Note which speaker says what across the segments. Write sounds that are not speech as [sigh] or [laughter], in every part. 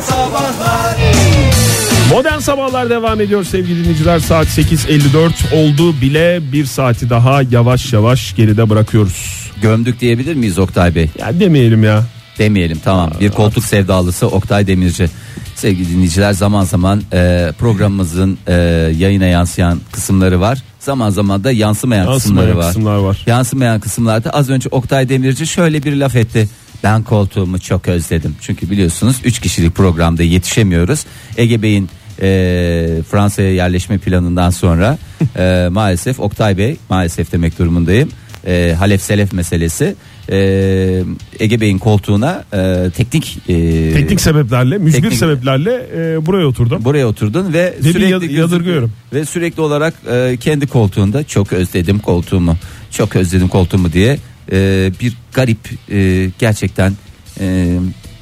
Speaker 1: Sabahlar
Speaker 2: Modern Sabahlar devam ediyor sevgili dinleyiciler. Saat 8.54 oldu bile bir saati daha yavaş yavaş geride bırakıyoruz.
Speaker 3: Gömdük diyebilir miyiz Oktay Bey?
Speaker 2: Ya demeyelim ya.
Speaker 3: Demeyelim tamam. Bir koltuk sevdalısı Oktay Demirci. Sevgili dinleyiciler zaman zaman e, programımızın e, yayına yansıyan kısımları var. Zaman zaman da yansımayan,
Speaker 2: Yansımayan
Speaker 3: kısımları var.
Speaker 2: kısımlar var.
Speaker 3: Yansımayan kısımlarda az önce Oktay Demirci şöyle bir laf etti. Ben koltuğumu çok özledim. Çünkü biliyorsunuz 3 kişilik programda yetişemiyoruz. Ege Bey'in e, Fransa'ya yerleşme planından
Speaker 2: [laughs]
Speaker 3: sonra e, maalesef Oktay Bey maalesef demek durumundayım. E, Halef Selef meselesi e, Ege Bey'in koltuğuna e, teknik e,
Speaker 2: Teknik sebeplerle, mücbir
Speaker 3: teknik-
Speaker 2: sebeplerle e, buraya oturdum.
Speaker 3: buraya oturdun ve
Speaker 2: Dedi,
Speaker 3: sürekli
Speaker 2: yad- yadırgıyorum.
Speaker 3: ve sürekli olarak e, kendi koltuğunda çok özledim koltuğumu çok özledim koltuğumu diye e, bir garip e, gerçekten e,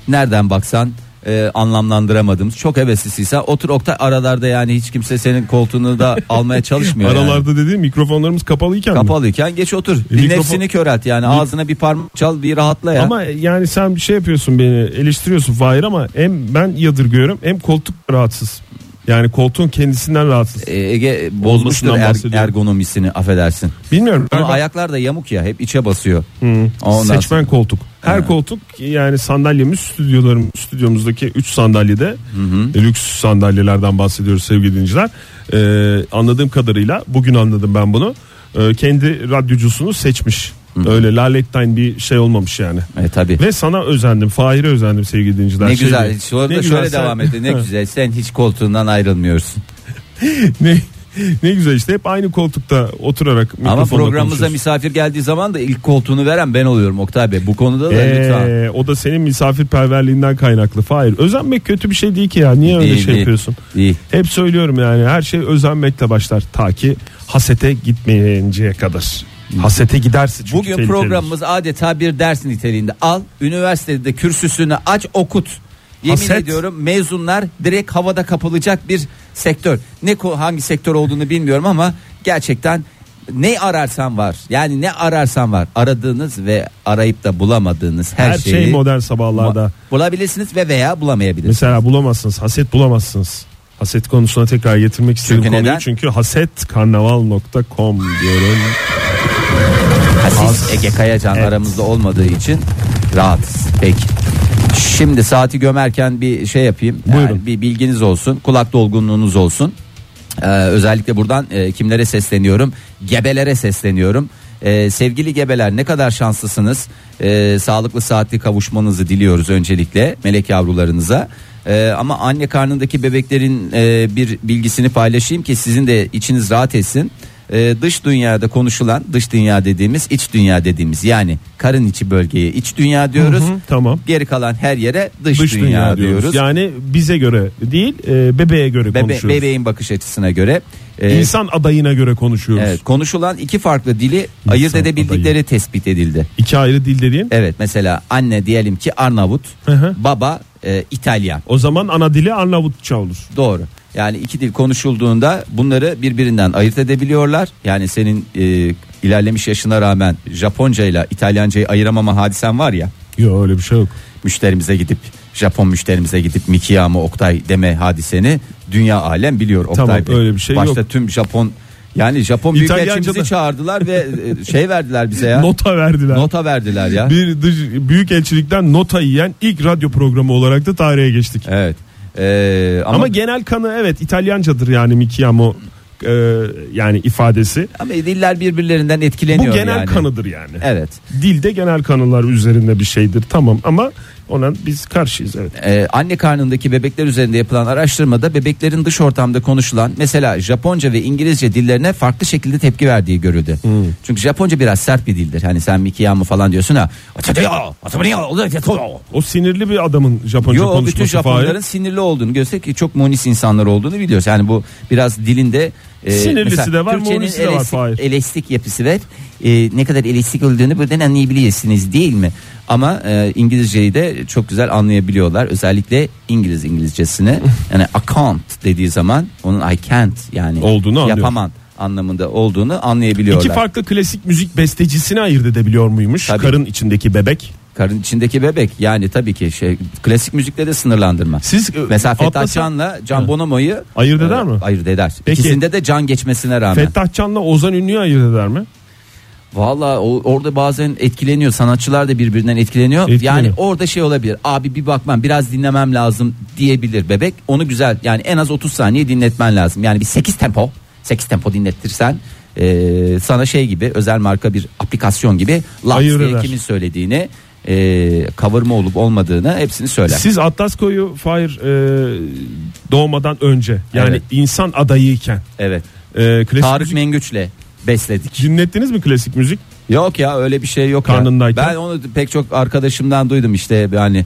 Speaker 3: nereden baksan e, anlamlandıramadığımız çok heveslisiysen otur Oktay aralarda yani hiç kimse senin koltuğunu
Speaker 2: [laughs]
Speaker 3: da almaya çalışmıyor yani.
Speaker 2: Aralarda dediğim mikrofonlarımız kapalıyken mi?
Speaker 3: kapalıyken geç otur bir
Speaker 2: Mikrofon-
Speaker 3: nefsini körelt yani ağzına bir parmak çal bir rahatla ya
Speaker 2: Ama yani sen bir şey yapıyorsun beni eleştiriyorsun Fahir ama hem ben yadırgıyorum hem koltuk rahatsız. Yani koltuğun kendisinden rahatsız.
Speaker 3: E, Ege bozmuştur
Speaker 2: Olmasından
Speaker 3: er-
Speaker 2: bahsediyorum.
Speaker 3: ergonomisini affedersin.
Speaker 2: Bilmiyorum.
Speaker 3: Ama
Speaker 2: Ben-
Speaker 3: ayaklar da yamuk ya hep içe basıyor.
Speaker 2: Hı.
Speaker 3: Ondan
Speaker 2: Seçmen koltuk. Her
Speaker 3: Ha.
Speaker 2: koltuk yani sandalyemiz stüdyolarım stüdyomuzdaki 3 sandalyede E, lüks sandalyelerden bahsediyoruz sevgili dinleyiciler. Ee, anladığım kadarıyla bugün anladım ben bunu. Ee, kendi radyocusunu seçmiş. Öyle laletten bir şey olmamış yani.
Speaker 3: E, tabii.
Speaker 2: Ve sana özendim. Fahir'e özendim sevgili dinleyiciler.
Speaker 3: Ne
Speaker 2: Şey
Speaker 3: güzel.
Speaker 2: diyor,
Speaker 3: Sonra
Speaker 2: ne
Speaker 3: da
Speaker 2: güzel
Speaker 3: şöyle
Speaker 2: sen-
Speaker 3: devam
Speaker 2: [laughs]
Speaker 3: etti. Ne güzel. Sen hiç koltuğundan ayrılmıyorsun.
Speaker 2: ne, ne güzel işte hep aynı koltukta oturarak
Speaker 3: Ama
Speaker 2: mikrofonla
Speaker 3: programımıza
Speaker 2: konuşuyorsun.
Speaker 3: misafir geldiği zaman da ilk koltuğunu veren ben oluyorum Oktay Bey. Bu konuda da lütfen.
Speaker 2: Ee, o da senin misafirperverliğinden kaynaklı. Hayır özenmek kötü bir şey değil ki ya. Niye öyle
Speaker 3: Değil,
Speaker 2: şey
Speaker 3: değil.
Speaker 2: yapıyorsun?
Speaker 3: İyi.
Speaker 2: Hep söylüyorum yani her şey özenmekle başlar. Ta ki hasete gitmeyinceye kadar. Hasete gidersin çünkü
Speaker 3: Bugün
Speaker 2: tehlikelidir.
Speaker 3: programımız adeta bir ders niteliğinde. Al üniversitede kürsüsünü aç okut. Yemin
Speaker 2: Haset.
Speaker 3: ediyorum mezunlar direkt havada kapılacak bir sektör. Ne ko- hangi sektör olduğunu bilmiyorum ama gerçekten ne ararsan var. Yani ne ararsan var. Aradığınız ve arayıp da bulamadığınız her,
Speaker 2: her
Speaker 3: şeyi
Speaker 2: şey modern sabahlarda.
Speaker 3: Ma- Bulabilirsiniz ve veya bulamayabilirsiniz.
Speaker 2: Mesela bulamazsınız haset bulamazsınız. Haset konusuna tekrar getirmek istedim
Speaker 3: Çünkü
Speaker 2: konuyu.
Speaker 3: neden?
Speaker 2: Çünkü hasetkarnaval.com diyorum.
Speaker 3: Ha, Siz Ege Kayacan aramızda olmadığı için rahatız. Peki. Şimdi saati gömerken bir şey yapayım. Yani
Speaker 2: Buyurun.
Speaker 3: bir bilginiz olsun. Kulak dolgunluğunuz olsun. Ee, özellikle buradan e, kimlere sesleniyorum? Gebelere sesleniyorum. Ee, sevgili gebeler ne kadar şanslısınız. Ee, sağlıklı saatli kavuşmanızı diliyoruz öncelikle melek yavrularınıza. Ee, ama anne karnındaki bebeklerin e, bir bilgisini paylaşayım ki sizin de içiniz rahat etsin. Ee, dış dünyada konuşulan dış dünya dediğimiz iç dünya dediğimiz yani karın içi bölgeye iç dünya diyoruz.
Speaker 2: Hı hı, tamam.
Speaker 3: Geri kalan her yere dış,
Speaker 2: Dış
Speaker 3: dünya, diyoruz.
Speaker 2: Yani bize göre değil e, bebeğe göre
Speaker 3: Bebe-
Speaker 2: konuşuyoruz.
Speaker 3: bebeğin bakış açısına göre. Ee,
Speaker 2: İnsan adayına göre konuşuyoruz.
Speaker 3: Evet, konuşulan iki farklı dili ayırt edebildikleri
Speaker 2: adayı.
Speaker 3: tespit edildi.
Speaker 2: İki ayrı dil dediğin.
Speaker 3: Evet mesela anne diyelim ki Arnavut,
Speaker 2: Hı hı.
Speaker 3: baba e, İtalyan.
Speaker 2: O zaman ana dili Arnavutça olur.
Speaker 3: Doğru. Yani iki dil konuşulduğunda bunları birbirinden ayırt edebiliyorlar. Yani senin e, ilerlemiş yaşına rağmen Japonca ile İtalyancayı ayıramama hadisen var ya.
Speaker 2: Yok öyle bir şey yok.
Speaker 3: Müşterimize gidip Japon müşterimize gidip Mikiya mı Oktay deme hadiseni dünya alem biliyor Oktay
Speaker 2: Tamam,
Speaker 3: Bey.
Speaker 2: öyle bir şey
Speaker 3: Başta
Speaker 2: yok.
Speaker 3: tüm Japon yani Japon
Speaker 2: İtalyanca'da-
Speaker 3: büyükelçimizi çağırdılar ve e, şey verdiler bize ya.
Speaker 2: Nota verdiler.
Speaker 3: Nota verdiler ya.
Speaker 2: Bir dış, büyük elçilikten nota yiyen ilk radyo programı olarak da tarihe geçtik.
Speaker 3: Evet. Ee, ama
Speaker 2: Ama
Speaker 3: E- ama,
Speaker 2: genel kanı evet İtalyancadır yani Mikiamo e, yani ifadesi.
Speaker 3: diller birbirlerinden
Speaker 2: Bu
Speaker 3: etkileniyor
Speaker 2: genel
Speaker 3: yani.
Speaker 2: kanıdır yani.
Speaker 3: Evet.
Speaker 2: Dilde genel kanılar üzerinde bir şeydir tamam ama ona biz karşıyız evet.
Speaker 3: Ee, anne karnındaki bebekler üzerinde yapılan araştırmada bebeklerin dış ortamda konuşulan mesela Japonca ve İngilizce dillerine farklı şekilde tepki verdiği görüldü. Çünkü Japonca biraz sert bir dildir. Hani sen Mikiyamu falan diyorsun ha.
Speaker 2: O sinirli bir adamın Japonca
Speaker 3: Yo
Speaker 2: konuşması
Speaker 3: bütün Japonların
Speaker 2: Fahir.
Speaker 3: sinirli olduğunu gösteriyor ki çok monis insanlar olduğunu biliyoruz. Yani bu biraz dilinde e,
Speaker 2: Sinirlisi
Speaker 3: mesela
Speaker 2: de var,
Speaker 3: Türkçenin
Speaker 2: monisi de var,
Speaker 3: elastik-
Speaker 2: Fahir.
Speaker 3: elastik yapısı var. E, ne kadar elastik olduğunu buradan anlayabiliyorsunuz değil mi? Ama e, İngilizceyi de çok güzel anlayabiliyorlar. Özellikle İngiliz İngilizcesini
Speaker 2: [laughs]
Speaker 3: yani I can't dediği zaman onun I can't yani şey
Speaker 2: Olduğunu anlıyor.
Speaker 3: yapamam anlamında olduğunu anlayabiliyorlar.
Speaker 2: İki farklı klasik müzik bestecisini ayırt edebiliyor muymuş?
Speaker 3: Tabii.
Speaker 2: Karın içindeki bebek.
Speaker 3: Karın içindeki bebek yani tabii ki şey klasik müzikte de sınırlandırma.
Speaker 2: Siz
Speaker 3: Mesela Fettah
Speaker 2: Atlas'ın-
Speaker 3: Can'la Can
Speaker 2: Evet.
Speaker 3: Bonomo'yu e,
Speaker 2: Ayırt eder mi?
Speaker 3: Ayırt eder.
Speaker 2: Peki.
Speaker 3: İkisinde de can geçmesine rağmen.
Speaker 2: Fettah Can'la Ozan Ünlü'yü ayırt eder mi?
Speaker 3: Valla o- orada bazen etkileniyor sanatçılar da birbirinden etkileniyor.
Speaker 2: Etkileniyor.
Speaker 3: Yani orada şey olabilir abi bir bakmam biraz dinlemem lazım diyebilir bebek. Onu güzel yani en az 30 saniye dinletmen lazım. Yani bir 8 tempo 8 tempo dinlettirsen eee, sana şey gibi özel marka bir aplikasyon gibi Lux
Speaker 2: Ayırt
Speaker 3: diye
Speaker 2: eder.
Speaker 3: kimin söylediğini eee kavurma olup olmadığını hepsini söyler.
Speaker 2: Siz Atlas Koyu Fahir e, doğmadan önce yani
Speaker 3: Evet.
Speaker 2: insan adayıyken
Speaker 3: Evet
Speaker 2: e, klasik
Speaker 3: Tarık
Speaker 2: müzik
Speaker 3: Mengüç'le besledik.
Speaker 2: dinlettiniz mi klasik müzik?
Speaker 3: Yok ya öyle bir şey yok. ya.
Speaker 2: Karnındayken.
Speaker 3: Ben onu pek çok arkadaşımdan duydum işte yani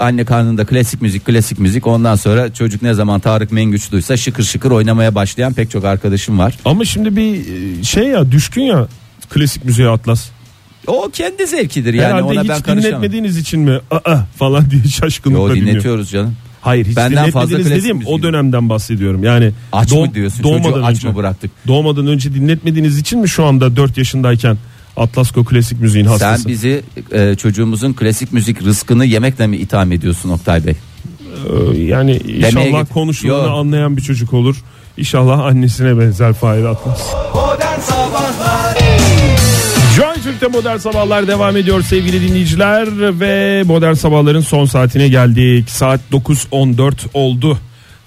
Speaker 3: anne karnında klasik müzik klasik müzik ondan sonra çocuk ne zaman Tarık Mengüç duysa şıkır şıkır oynamaya başlayan pek çok arkadaşım var.
Speaker 2: Ama şimdi bir e, şey ya düşkün ya klasik müziğe Atlas.
Speaker 3: O kendi zevkidir yani
Speaker 2: Herhalde
Speaker 3: ona ben
Speaker 2: hiç
Speaker 3: karışamam.
Speaker 2: dinletmediğiniz için mi aa falan diye şaşkınlıkla
Speaker 3: Yo
Speaker 2: dinliyor.
Speaker 3: dinletiyoruz canım.
Speaker 2: Hayır hiç
Speaker 3: Benden
Speaker 2: dinletmediğiniz
Speaker 3: fazla klasik
Speaker 2: dediğim
Speaker 3: müzik
Speaker 2: o dönemden bahsediyorum. Yani
Speaker 3: Aç
Speaker 2: doğ-
Speaker 3: mı diyorsun çocuğu
Speaker 2: doğmadan
Speaker 3: aç
Speaker 2: önce.
Speaker 3: mı bıraktık?
Speaker 2: Doğmadan önce dinletmediğiniz için mi şu anda 4 yaşındayken Atlas Ko klasik müziğin hastası?
Speaker 3: Sen bizi e, çocuğumuzun klasik müzik rızkını yemekle mi itham ediyorsun Oktay Bey?
Speaker 2: Ee, yani inşallah
Speaker 3: git-
Speaker 2: konuşulanı
Speaker 3: Yo.
Speaker 2: anlayan bir çocuk olur. İnşallah annesine benzer Fahir Atlas.
Speaker 1: Modern Sabahlar
Speaker 2: Joy Türk'te Modern Sabahlar devam ediyor sevgili dinleyiciler ve Modern Sabahların son saatine geldik. Saat 9.14 oldu.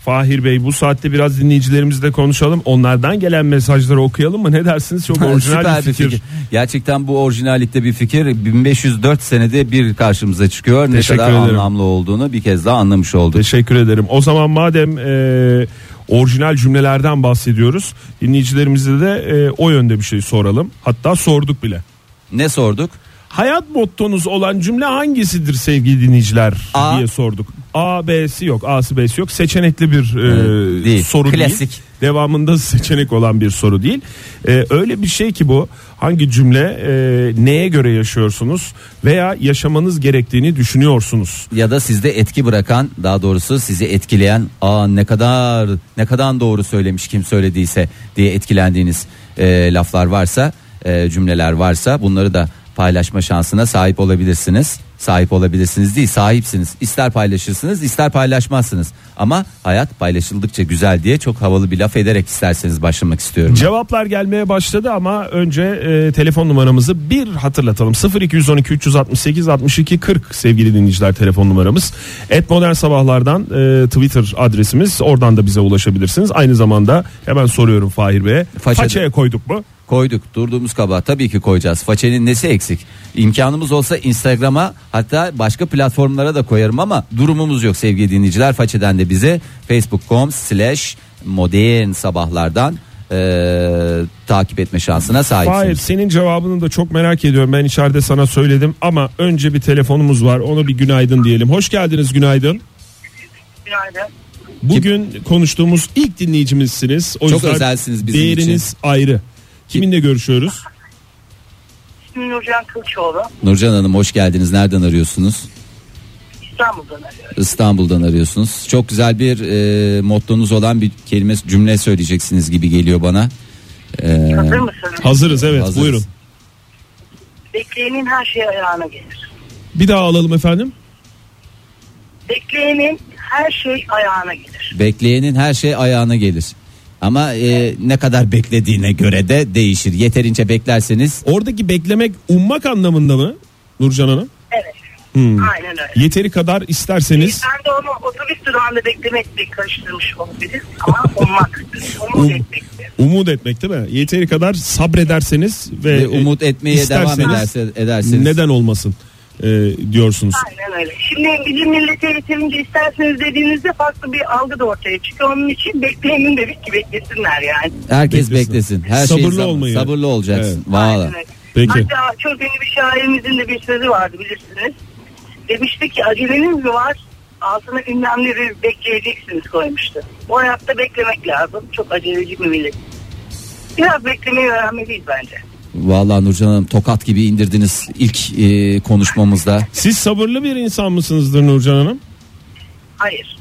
Speaker 2: Fahir Bey bu saatte biraz dinleyicilerimizle konuşalım. Onlardan gelen mesajları okuyalım mı? Ne dersiniz? [laughs] Çok orijinal bir fikir.
Speaker 3: Gerçekten bu orijinallikte bir fikir 1504 senede bir karşımıza çıkıyor.
Speaker 2: Teşekkür
Speaker 3: ne kadar
Speaker 2: ederim.
Speaker 3: anlamlı olduğunu bir kez daha anlamış olduk.
Speaker 2: Teşekkür ederim. O zaman madem e, orijinal cümlelerden bahsediyoruz. Dinleyicilerimize de e, o yönde bir şey soralım. Hatta sorduk bile.
Speaker 3: Ne sorduk?
Speaker 2: Hayat mottonuz olan cümle hangisidir sevgili dinleyiciler
Speaker 3: A.
Speaker 2: diye sorduk. A, B'si yok, A'sı B'si yok. Seçenekli bir e,
Speaker 3: Evet, değil.
Speaker 2: soru
Speaker 3: Klasik.
Speaker 2: değil. Devamında [laughs] seçenek olan bir soru değil. E, öyle bir şey ki bu hangi cümle e, neye göre yaşıyorsunuz veya yaşamanız gerektiğini düşünüyorsunuz.
Speaker 3: Ya da sizde etki bırakan daha doğrusu sizi etkileyen aa ne kadar ne kadar doğru söylemiş kim söylediyse diye etkilendiğiniz e, laflar varsa e, cümleler varsa bunları da paylaşma şansına sahip olabilirsiniz. Sahip olabilirsiniz değil sahipsiniz. İster paylaşırsınız ister paylaşmazsınız. Ama hayat paylaşıldıkça güzel diye çok havalı bir laf ederek isterseniz başlamak istiyorum.
Speaker 2: Cevaplar gelmeye başladı ama önce e, telefon numaramızı bir hatırlatalım. 0212 368 62 40 sevgili dinleyiciler telefon numaramız. Et Modern Sabahlar'dan e, Twitter adresimiz. Oradan da bize ulaşabilirsiniz. Aynı zamanda hemen soruyorum Fahir Bey'e.
Speaker 3: Façede.
Speaker 2: Façaya koyduk mu?
Speaker 3: Koyduk durduğumuz kaba tabii ki koyacağız. Façenin nesi eksik? İmkanımız olsa Instagram'a hatta başka platformlara da koyarım ama durumumuz yok sevgili dinleyiciler. Façeden de bize facebook.com slash modern sabahlardan eee, takip etme şansına
Speaker 2: Fahir
Speaker 3: sahipsiniz.
Speaker 2: senin cevabını da çok merak ediyorum. Ben içeride sana söyledim ama önce bir telefonumuz var. Ona bir günaydın diyelim. Hoş geldiniz günaydın.
Speaker 4: Günaydın.
Speaker 2: Bugün konuştuğumuz ilk dinleyicimizsiniz. O
Speaker 3: Çok
Speaker 2: yüzden
Speaker 3: özelsiniz bizim için.
Speaker 2: değeriniz ayrı. Kiminle görüşüyoruz?
Speaker 4: İsmim Nurcan Kılıçoğlu.
Speaker 3: Nurcan Hanım hoş geldiniz. Nereden arıyorsunuz?
Speaker 4: İstanbul'dan arıyorum.
Speaker 3: İstanbul'dan arıyorsunuz. Çok güzel bir eee mottonuz olan bir kelime cümle söyleyeceksiniz gibi geliyor bana. Eee,
Speaker 4: Hazır mısınız?
Speaker 2: Hazırız evet
Speaker 3: hazırız.
Speaker 2: buyurun.
Speaker 4: Bekleyenin her şey ayağına gelir.
Speaker 2: Bir daha alalım efendim.
Speaker 4: Bekleyenin her şey ayağına gelir.
Speaker 3: Bekleyenin her şey ayağına gelir. Ama e, ne kadar beklediğine göre de değişir. Yeterince beklerseniz
Speaker 2: Oradaki beklemek ummak anlamında mı Nurcan Hanım?
Speaker 4: Evet.
Speaker 2: Hmm.
Speaker 4: Aynen öyle.
Speaker 2: Yeteri kadar isterseniz
Speaker 4: Ben de onu otobüs durağında beklemekle karıştırmış olabiliriz. Ama ummak.
Speaker 2: Um-
Speaker 4: Umut etmektir.
Speaker 2: umut etmek değil mi? Yeteri kadar sabrederseniz ve,
Speaker 3: ve umut etmeye devam
Speaker 2: E, isterseniz
Speaker 3: ederse, ederseniz
Speaker 2: neden olmasın e, diyorsunuz.
Speaker 4: Aynen öyle. Şimdi bizim millete yeterince isterseniz dediğinizde farklı bir algı da ortaya çıkıyor. Onun için bekleyenin dedik ki beklesinler yani.
Speaker 3: herkes
Speaker 2: Beklesin.
Speaker 3: beklesin. Her şey
Speaker 2: Sabırlı
Speaker 3: zaman-
Speaker 2: olmayı.
Speaker 3: Sabırlı olacaksın. Valla.
Speaker 4: Aynen öyle.
Speaker 2: Peki.
Speaker 4: Hatta çok ünlü bir şairimizin de bir sözü vardı bilirsiniz. Demişti ki aceleniz mi var? Altına ünlemli bir bekleyeceksiniz koymuştu. O hayatta beklemek lazım. Çok aceleci bir millet. Biraz beklemeyi öğrenmeliyiz bence.
Speaker 3: Valla Nurcan Hanım tokat gibi indirdiniz ilk e,
Speaker 2: [laughs]
Speaker 3: konuşmamızda.
Speaker 2: Siz sabırlı bir insan mısınızdır Nurcan Hanım?
Speaker 4: Hayır.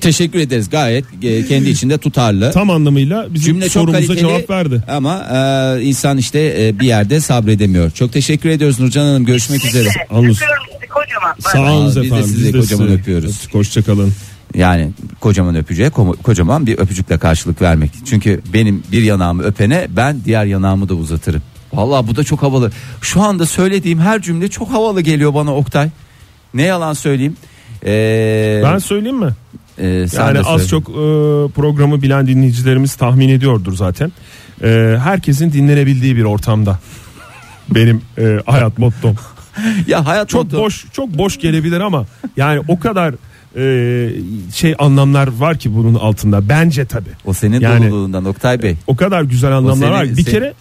Speaker 3: Teşekkür ederiz. Gayet e, kendi içinde tutarlı.
Speaker 2: Tam anlamıyla bizim
Speaker 3: Cümle çok
Speaker 2: sorumuza
Speaker 3: kaliteli
Speaker 2: cevap verdi.
Speaker 3: ama e, insan işte e, bir yerde sabredemiyor. Çok teşekkür ediyoruz Nurcan Hanım. Görüşmek üzere.
Speaker 2: Anlıyorsun.
Speaker 4: Öpüyorum sizi kocaman. Bay bay.
Speaker 2: Sağ olun
Speaker 3: Biz de
Speaker 2: efendim.
Speaker 3: sizi kocaman öpüyoruz.
Speaker 2: Öptük, Hoşça kalın.
Speaker 3: Yani kocaman öpücüğe komo- kocaman bir öpücükle karşılık vermek. Çünkü benim bir yanağımı öpene ben diğer yanağımı da uzatırım. Vallahi bu da çok havalı. Şu anda söylediğim her cümle çok havalı geliyor bana Oktay. Ne yalan söyleyeyim. Ee,
Speaker 2: Ben söyleyeyim mi?
Speaker 3: e, sen
Speaker 2: Yani
Speaker 3: de söyle.
Speaker 2: az çok e, programı bilen dinleyicilerimiz tahmin ediyordur zaten. E, herkesin dinlenebildiği bir ortamda. Benim e, hayat mottom.
Speaker 3: ya hayat
Speaker 2: Çok
Speaker 3: motto-
Speaker 2: boş çok boş gelebilir ama yani o kadar e, şey anlamlar var ki bunun altında bence tabi.
Speaker 3: O senin
Speaker 2: Yani-
Speaker 3: doluluğundan Oktay Bey.
Speaker 2: O kadar güzel anlamlar
Speaker 3: senin-
Speaker 2: var. ki. Bir
Speaker 3: senin-
Speaker 2: kere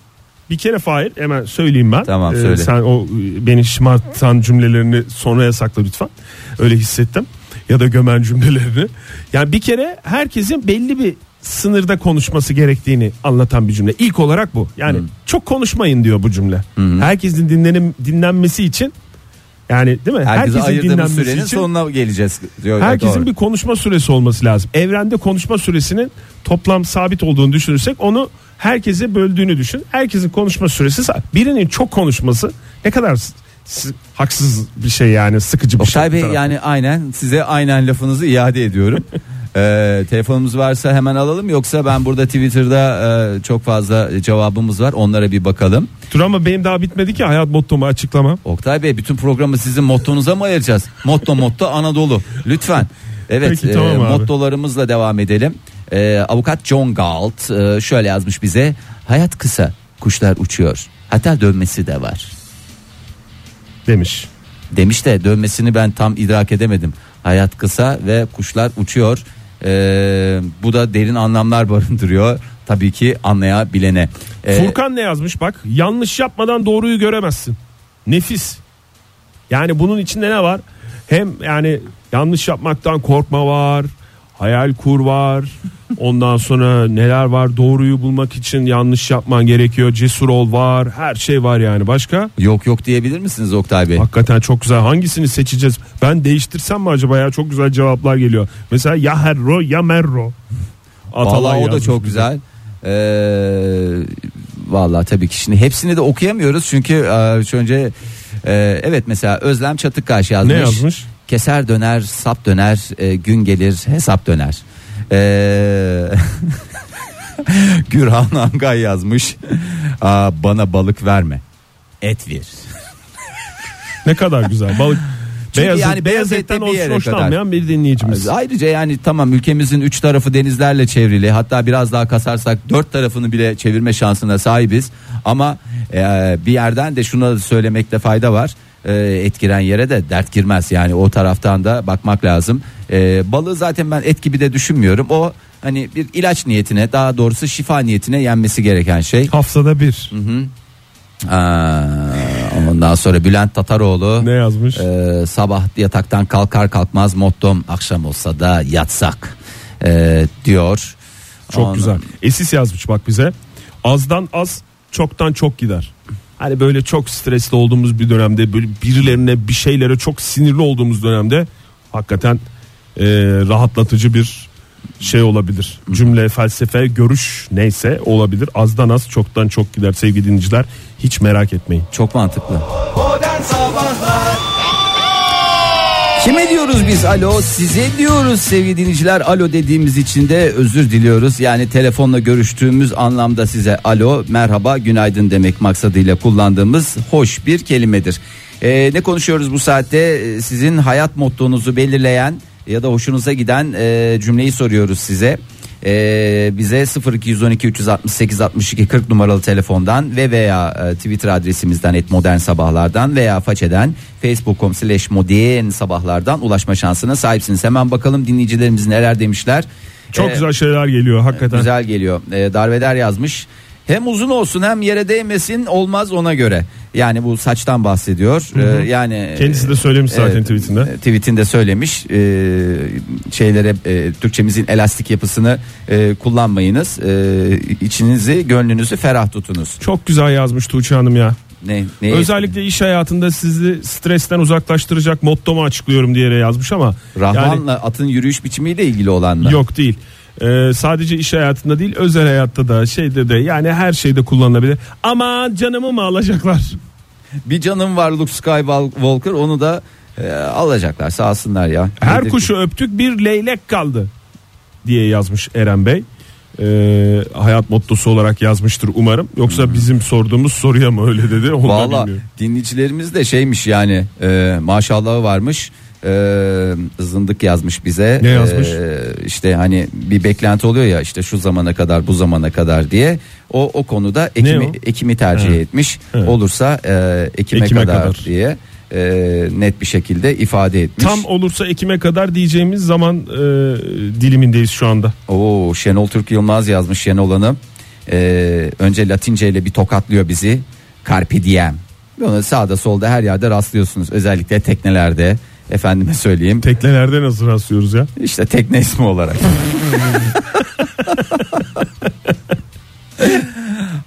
Speaker 2: bir kere Fahir hemen söyleyeyim ben.
Speaker 3: Tamam,
Speaker 2: Ee,
Speaker 3: söyle.
Speaker 2: sen o e, beni şımartan cümlelerini sonraya sakla lütfen. Öyle hissettim. Ya da gömen cümlelerini. Yani bir kere herkesin belli bir sınırda konuşması gerektiğini anlatan bir cümle. İlk olarak bu. Yani
Speaker 3: Hmm.
Speaker 2: çok konuşmayın diyor bu cümle. Herkesin dinlenim, dinlenmesi için yani değil mi?
Speaker 3: Herkese ayırdığımız
Speaker 2: dinlenmesi
Speaker 3: sürenin
Speaker 2: için-
Speaker 3: sonuna geleceğiz. Diyor,
Speaker 2: Herkesin
Speaker 3: doğru.
Speaker 2: bir konuşma süresi olması lazım. Evrende konuşma süresinin toplam sabit olduğunu düşünürsek onu herkese böldüğünü düşün. Herkesin konuşma süresi sa- birinin çok konuşması ne kadar s- s- haksız bir şey yani sıkıcı bir şey.
Speaker 3: Oktay
Speaker 2: bir
Speaker 3: Bey
Speaker 2: taraftan.
Speaker 3: yani aynen size aynen lafınızı iade
Speaker 2: [laughs]
Speaker 3: ediyorum. Ee, telefonumuz varsa hemen alalım yoksa ben burada Twitter'da e, çok fazla cevabımız var onlara bir bakalım.
Speaker 2: Dur ama benim daha bitmedi ki hayat mottomu açıklamam.
Speaker 3: Oktay Bey bütün programı sizin mottonuza mı ayıracağız? Motto motto Anadolu lütfen. Evet
Speaker 2: Peki, tamam
Speaker 3: e,
Speaker 2: abi.
Speaker 3: mottolarımızla devam edelim. E, avukat John Galt e, şöyle yazmış bize hayat kısa kuşlar uçuyor hatta dönmesi de var.
Speaker 2: demiş.
Speaker 3: Demiş de dönmesini ben tam idrak edemedim. Hayat kısa ve kuşlar uçuyor. Ee, bu da derin anlamlar barındırıyor. Tabii ki anlayabilene. Ee,
Speaker 2: Furkan ne yazmış bak yanlış yapmadan doğruyu göremezsin. Nefis. Yani bunun içinde ne var? Hem yani yanlış yapmaktan korkma var. Hayal
Speaker 3: [laughs]
Speaker 2: kur var. Ondan sonra neler var? Doğruyu bulmak için yanlış yapman gerekiyor. Cesur ol var. Her şey var yani. Başka?
Speaker 3: Yok yok diyebilir misiniz Oktay Bey?
Speaker 2: Hakikaten çok güzel. Hangisini seçeceğiz? Ben değiştirsem mi acaba ya? Çok güzel cevaplar geliyor. Mesela ya herro ya merro. Atalay
Speaker 3: Vallahi o da
Speaker 2: yazmış
Speaker 3: çok
Speaker 2: bize.
Speaker 3: güzel. Ee, vallahi tabii ki şimdi hepsini de okuyamıyoruz çünkü e, şu önce e, evet mesela Özlem Çatıkkaş yazmış.
Speaker 2: Ne yazmış?
Speaker 3: Keser döner, sap döner, e, gün gelir hesap döner. Ee, [laughs] Gürhan Angay yazmış. Aa, bana balık verme. Et ver.
Speaker 2: Ne kadar güzel. Balık
Speaker 3: [laughs] Çünkü
Speaker 2: beyaz,
Speaker 3: yani
Speaker 2: beyaz
Speaker 3: beyaz
Speaker 2: etten
Speaker 3: ette bir yere
Speaker 2: hoşlanmayan bir dinleyicimiz.
Speaker 3: Ayrıca yani tamam ülkemizin üç tarafı denizlerle çevrili. Hatta biraz daha kasarsak dört tarafını bile çevirme şansına sahibiz. Ama e, bir yerden de şunu da söylemekte fayda var. E, et giren yere de dert girmez. Yani o taraftan da bakmak lazım. E, balığı zaten ben et gibi de düşünmüyorum. O hani bir ilaç niyetine daha doğrusu şifa niyetine yenmesi gereken şey.
Speaker 2: Haftada bir.
Speaker 3: Aa, ondan sonra Bülent Tataroğlu.
Speaker 2: Ne yazmış?
Speaker 3: Ee, sabah yataktan kalkar kalkmaz mottom akşam olsa da yatsak ee, diyor.
Speaker 2: çok
Speaker 3: Ondan-
Speaker 2: güzel. Esis yazmış bak bize. Azdan az, çoktan çok gider. Hani böyle çok stresli olduğumuz bir dönemde, böyle birilerine bir şeylere çok sinirli olduğumuz dönemde hakikaten e, rahatlatıcı bir şey olabilir. Cümle, felsefe, görüş neyse olabilir. Azdan az, çoktan çok gider sevgili dinleyiciler. Hiç merak etmeyin.
Speaker 3: Çok mantıklı.
Speaker 1: Modern Sabahlar
Speaker 3: Kime diyoruz biz alo? Size diyoruz sevgili dinleyiciler. Alo dediğimiz için de özür diliyoruz. Yani telefonla görüştüğümüz anlamda size alo, merhaba, günaydın demek maksadıyla kullandığımız hoş bir kelimedir. Ee, ne konuşuyoruz bu saatte? Ee, Sizin hayat mottonuzu belirleyen ya da hoşunuza giden e, cümleyi soruyoruz size. Ee, bize 0212 368 62 40 numaralı telefondan ve veya e, Twitter adresimizden et modern sabahlardan veya façeden facebook.com slash modern sabahlardan ulaşma şansına sahipsiniz. Hemen bakalım dinleyicilerimiz neler demişler.
Speaker 2: Çok
Speaker 3: Ee,
Speaker 2: güzel şeyler geliyor hakikaten.
Speaker 3: Güzel geliyor. Ee, Darveder yazmış. Hem uzun olsun hem yere değmesin olmaz ona göre. Yani bu saçtan bahsediyor. Ee, yani
Speaker 2: Kendisi de söylemiş zaten tweetinde.
Speaker 3: e, Tweetinde söylemiş. Ee, şeylere e, Türkçemizin elastik yapısını e, kullanmayınız. Ee, içinizi, gönlünüzü ferah tutunuz.
Speaker 2: Çok güzel yazmış Tuğçe Hanım ya.
Speaker 3: Ne, neye-
Speaker 2: Özellikle iş hayatında sizi stresten uzaklaştıracak mottomu açıklıyorum diye yazmış ama yani-
Speaker 3: Rahman'la atın yürüyüş biçimiyle ilgili olan mı?
Speaker 2: Yok değil. Ee, sadece iş hayatında değil özel hayatta da şeyde de yani her şeyde kullanılabilir. Ama canımı mı alacaklar?
Speaker 3: Bir canım var Luke Skywalker onu da e, alacaklar sağ olsunlar ya.
Speaker 2: Her
Speaker 3: Nedir?
Speaker 2: kuşu öptük bir leylek kaldı diye yazmış Eren Bey. Ee, hayat mottosu olarak yazmıştır umarım.
Speaker 3: Hmm.
Speaker 2: Yoksa bizim sorduğumuz soruya mı öyle dedi onu da
Speaker 3: Valla
Speaker 2: bilmiyorum.
Speaker 3: dinleyicilerimiz de şeymiş yani e, maşallahı varmış. E, zındık yazmış bize.
Speaker 2: Ne yazmış?
Speaker 3: E, işte hani bir beklenti oluyor ya işte şu zamana kadar bu zamana kadar diye. O o konuda
Speaker 2: Ne o?
Speaker 3: ekimi ekimi tercih etmiş. Olursa e, ekime,
Speaker 2: Ekime
Speaker 3: kadar,
Speaker 2: kadar.
Speaker 3: diye e, net bir şekilde ifade etmiş.
Speaker 2: Tam olursa Ekim'e kadar diyeceğimiz zaman e, dilimindeyiz şu anda.
Speaker 3: Oo Şenol Türk Yılmaz yazmış Şenol Hanım. Ee, önce Latince ile bir tokatlıyor bizi. Carpe diem. Bunu sağda solda her yerde rastlıyorsunuz. Özellikle teknelerde. Efendime söyleyeyim.
Speaker 2: Teknelerde nasıl
Speaker 3: [laughs]
Speaker 2: rastlıyoruz ya?
Speaker 3: İşte tekne ismi olarak.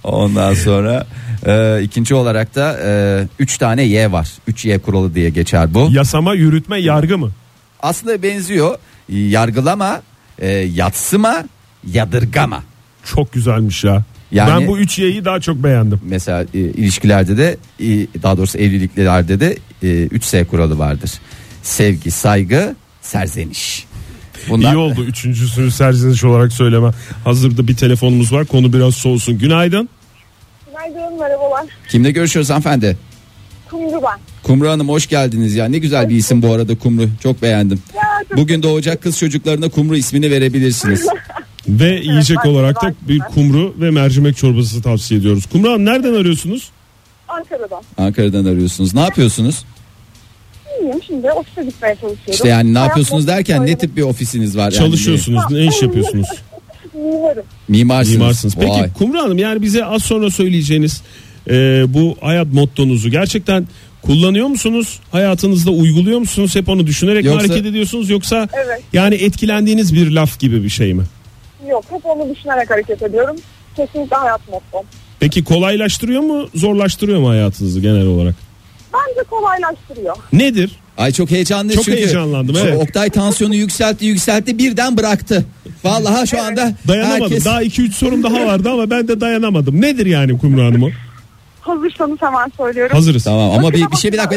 Speaker 3: Ondan sonra e, ikinci olarak da e, üç tane Y var. Üç Y kuralı diye geçer bu.
Speaker 2: Yasama, yürütme, yargı mı?
Speaker 3: Aslında benziyor. Yargılama, e, yatsıma, yadırgama.
Speaker 2: Çok güzelmiş ya.
Speaker 3: Yani-
Speaker 2: ben bu üç yeyi daha çok beğendim.
Speaker 3: mesela e, ilişkilerde de e, daha doğrusu evliliklerde de 3S kuralı vardır. Sevgi, saygı, serzeniş. Bunlar
Speaker 2: İyi oldu üçüncüsünü serzeniş olarak söyleme. Hazırda bir telefonumuz var konu biraz soğusun. Günaydın.
Speaker 5: Günaydın merhabalar.
Speaker 3: kimle görüşüyoruz hanımefendi?
Speaker 5: Kumru ben.
Speaker 3: Kumru Hanım hoş geldiniz ya. Ne güzel bir isim bu arada Kumru. Çok beğendim.
Speaker 5: Ya, çok-
Speaker 3: Bugün doğacak kız çocuklarına Kumru ismini
Speaker 5: [laughs]
Speaker 3: verebilirsiniz.
Speaker 2: Ve yiyecek
Speaker 5: ben-
Speaker 2: olarak da
Speaker 5: ben-
Speaker 2: bir kumru ve mercimek çorbası tavsiye ediyoruz. Kumru Hanım nereden arıyorsunuz?
Speaker 5: Ankara'dan.
Speaker 3: Ankara'dan arıyorsunuz. Ne yapıyorsunuz?
Speaker 5: İyiyim şimdi ofise gitmeye çalışıyorum.
Speaker 3: İşte yani ne
Speaker 5: Hayat
Speaker 3: yapıyorsunuz
Speaker 5: mottosu
Speaker 3: derken ne
Speaker 5: böyle.
Speaker 3: tip bir ofisiniz var? yani?
Speaker 2: Çalışıyorsunuz. Ne iş yapıyorsunuz?
Speaker 5: Mimarım.
Speaker 3: Mimarsınız.
Speaker 2: Mimarsınız. Peki
Speaker 3: Vay.
Speaker 2: Kumru Hanım yani bize az sonra söyleyeceğiniz e, bu hayat mottonuzu gerçekten kullanıyor musunuz? Hayatınızda uyguluyor musunuz? Hep onu düşünerek
Speaker 3: Yoksa-
Speaker 2: mi hareket ediyorsunuz yoksa
Speaker 5: Evet.
Speaker 2: yani etkilendiğiniz bir laf gibi bir şey mi?
Speaker 5: Yok hep onu düşünerek hareket ediyorum. Kesinlikle hayat mottom.
Speaker 2: Peki kolaylaştırıyor mu, zorlaştırıyor mu hayatınızı genel olarak?
Speaker 5: Bence kolaylaştırıyor.
Speaker 2: Nedir?
Speaker 3: Ay çok heyecanlıyız
Speaker 2: Çok
Speaker 3: çünkü.
Speaker 2: heyecanlandım,
Speaker 3: Şu
Speaker 2: evet.
Speaker 3: Oktay tansiyonu yükseltti yükseltti birden bıraktı. Vallahi şu anda
Speaker 2: Dayanamadım.
Speaker 3: herkes
Speaker 2: Daha 2-3 sorum daha vardı ama ben de dayanamadım. Nedir yani Kumru Hanım o?
Speaker 5: Hazırsanız hemen söylüyorum.
Speaker 2: Hazırız.
Speaker 3: Tamam ama bir, bir şey bir dakika.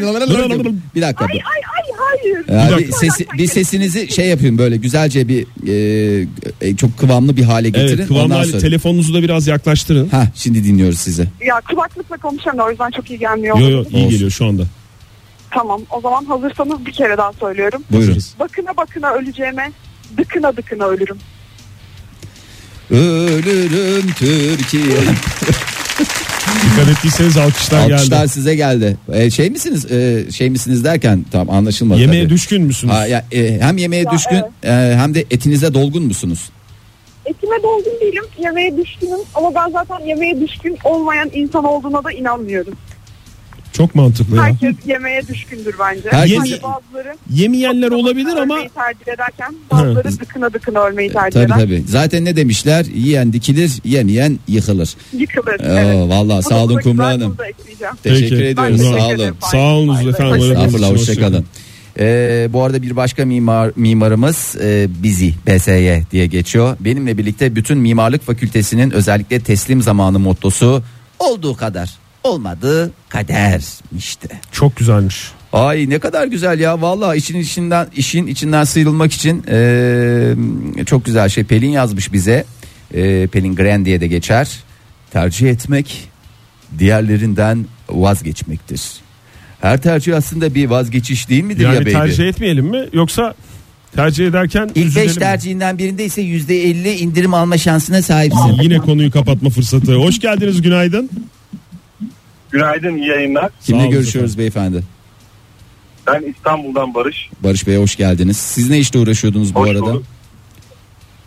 Speaker 3: Bir dakika.
Speaker 5: Ay ay ay hayır.
Speaker 3: Ya
Speaker 2: Bir
Speaker 3: bir,
Speaker 2: dakika.
Speaker 3: sesi- bir sesinizi şey yapın böyle güzelce bir e, e, çok kıvamlı bir hale getirin.
Speaker 2: Evet, kıvamlı
Speaker 3: Ondan
Speaker 2: hali-
Speaker 3: sonra.
Speaker 2: telefonunuzu da biraz yaklaştırın.
Speaker 3: Ha şimdi dinliyoruz sizi.
Speaker 5: Ya kulaklıkla konuşamıyorum o yüzden çok iyi gelmiyor.
Speaker 2: Yo yo iyi
Speaker 3: Olsun.
Speaker 2: geliyor şu anda.
Speaker 5: Tamam o zaman hazırsanız bir kere daha söylüyorum.
Speaker 3: Buyurun.
Speaker 2: Hazırız.
Speaker 5: Bakına bakına öleceğime dıkına dıkına ölürüm.
Speaker 3: Ölürüm
Speaker 2: [laughs]
Speaker 3: Türkiye.
Speaker 2: Dikkat ettiyseniz alkışlar,
Speaker 3: Alkışlar
Speaker 2: geldi.
Speaker 3: size geldi. E, şey misiniz? E, şey misiniz derken tam anlaşılmadı.
Speaker 2: Yemeğe
Speaker 3: tabii.
Speaker 2: düşkün müsünüz?
Speaker 3: Ha, ya, e, hem yemeğe
Speaker 5: Ya,
Speaker 3: düşkün e, hem de etinize dolgun musunuz?
Speaker 5: Etime dolgun değilim, yemeğe düşkünüm ama ben zaten yemeğe düşkün olmayan insan olduğuna da inanmıyorum.
Speaker 2: Çok mantıklı ya.
Speaker 5: Herkes yemeğe düşkündür bence.
Speaker 3: Herkes-
Speaker 5: Sadece bazıları
Speaker 2: Yemeyenler olabilir
Speaker 5: ölmeyi
Speaker 2: ama
Speaker 5: tercih ederken bazıları dıkına dıkına ölmeyi tercih
Speaker 3: Tabii
Speaker 5: eder.
Speaker 3: tabii. Zaten ne demişler? Yiyen dikilir, yemeyen yıkılır.
Speaker 5: Yıkılır.
Speaker 3: Oo, vallahi sağ olun Kumru Hanım. Teşekkür
Speaker 2: Peki.
Speaker 3: ediyoruz.
Speaker 2: Ben
Speaker 3: Sağ
Speaker 5: teşekkür
Speaker 3: olun.
Speaker 5: ederim.
Speaker 2: sağ olunuz
Speaker 5: Bay
Speaker 2: efendim.
Speaker 5: bay.
Speaker 2: Öyle
Speaker 3: Estağfurullah
Speaker 2: konuşun,
Speaker 3: hoşçakalın. Ee, bu arada bir başka mimar mimarımız e, bizi BSY diye geçiyor. Benimle birlikte bütün mimarlık fakültesinin özellikle teslim zamanı mottosu olduğu kadar olmadığı kadermişti.
Speaker 2: Çok güzelmiş.
Speaker 3: Ay ne kadar güzel ya vallahi işin içinden işin içinden sıyrılmak için e, çok güzel şey Pelin yazmış bize E, Pelin Grand diye de geçer tercih etmek diğerlerinden vazgeçmektir. Her tercih aslında bir vazgeçiş değil midir ya
Speaker 2: Yani
Speaker 3: baby?
Speaker 2: tercih etmeyelim mi yoksa tercih ederken
Speaker 3: İlk
Speaker 2: üzülelim
Speaker 3: 5
Speaker 2: mi?
Speaker 3: tercihinden birinde ise %50 indirim alma şansına sahipsin.
Speaker 2: Yine konuyu kapatma fırsatı. Hoş geldiniz günaydın.
Speaker 6: Günaydın, iyi yayınlar.
Speaker 3: Kimle
Speaker 2: Sağ olun
Speaker 3: görüşüyoruz beyefendi?
Speaker 6: Ben İstanbul'dan Barış.
Speaker 3: Barış Bey hoş geldiniz. Siz ne işle uğraşıyordunuz bu
Speaker 6: Hoş
Speaker 3: arada?
Speaker 6: bulduk.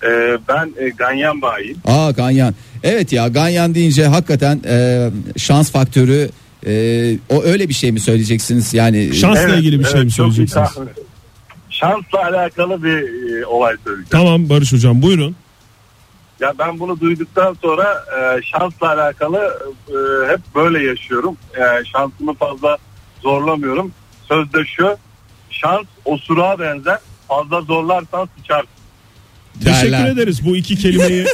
Speaker 6: Ee, ben e, Ganyan Bayim.
Speaker 3: Aa Ganyan. Evet ya Ganyan deyince hakikaten e, şans faktörü e, o öyle bir şey mi söyleyeceksiniz? Yani
Speaker 2: Şansla ilgili bir şey mi
Speaker 6: çok iyi
Speaker 2: söyleyeceksiniz?
Speaker 6: tahmin. Şansla alakalı bir e, olay söyleyeceğim.
Speaker 2: Tamam Barış hocam buyurun.
Speaker 6: Ya ben bunu duyduktan sonra e, şansla alakalı e, hep böyle yaşıyorum. E, şansımı fazla zorlamıyorum. Sözde şu şans osuruğa benzer fazla zorlarsan sıçar.
Speaker 2: Teşekkür
Speaker 3: Derler.
Speaker 2: ederiz bu
Speaker 3: [laughs]
Speaker 2: iki kelimeyi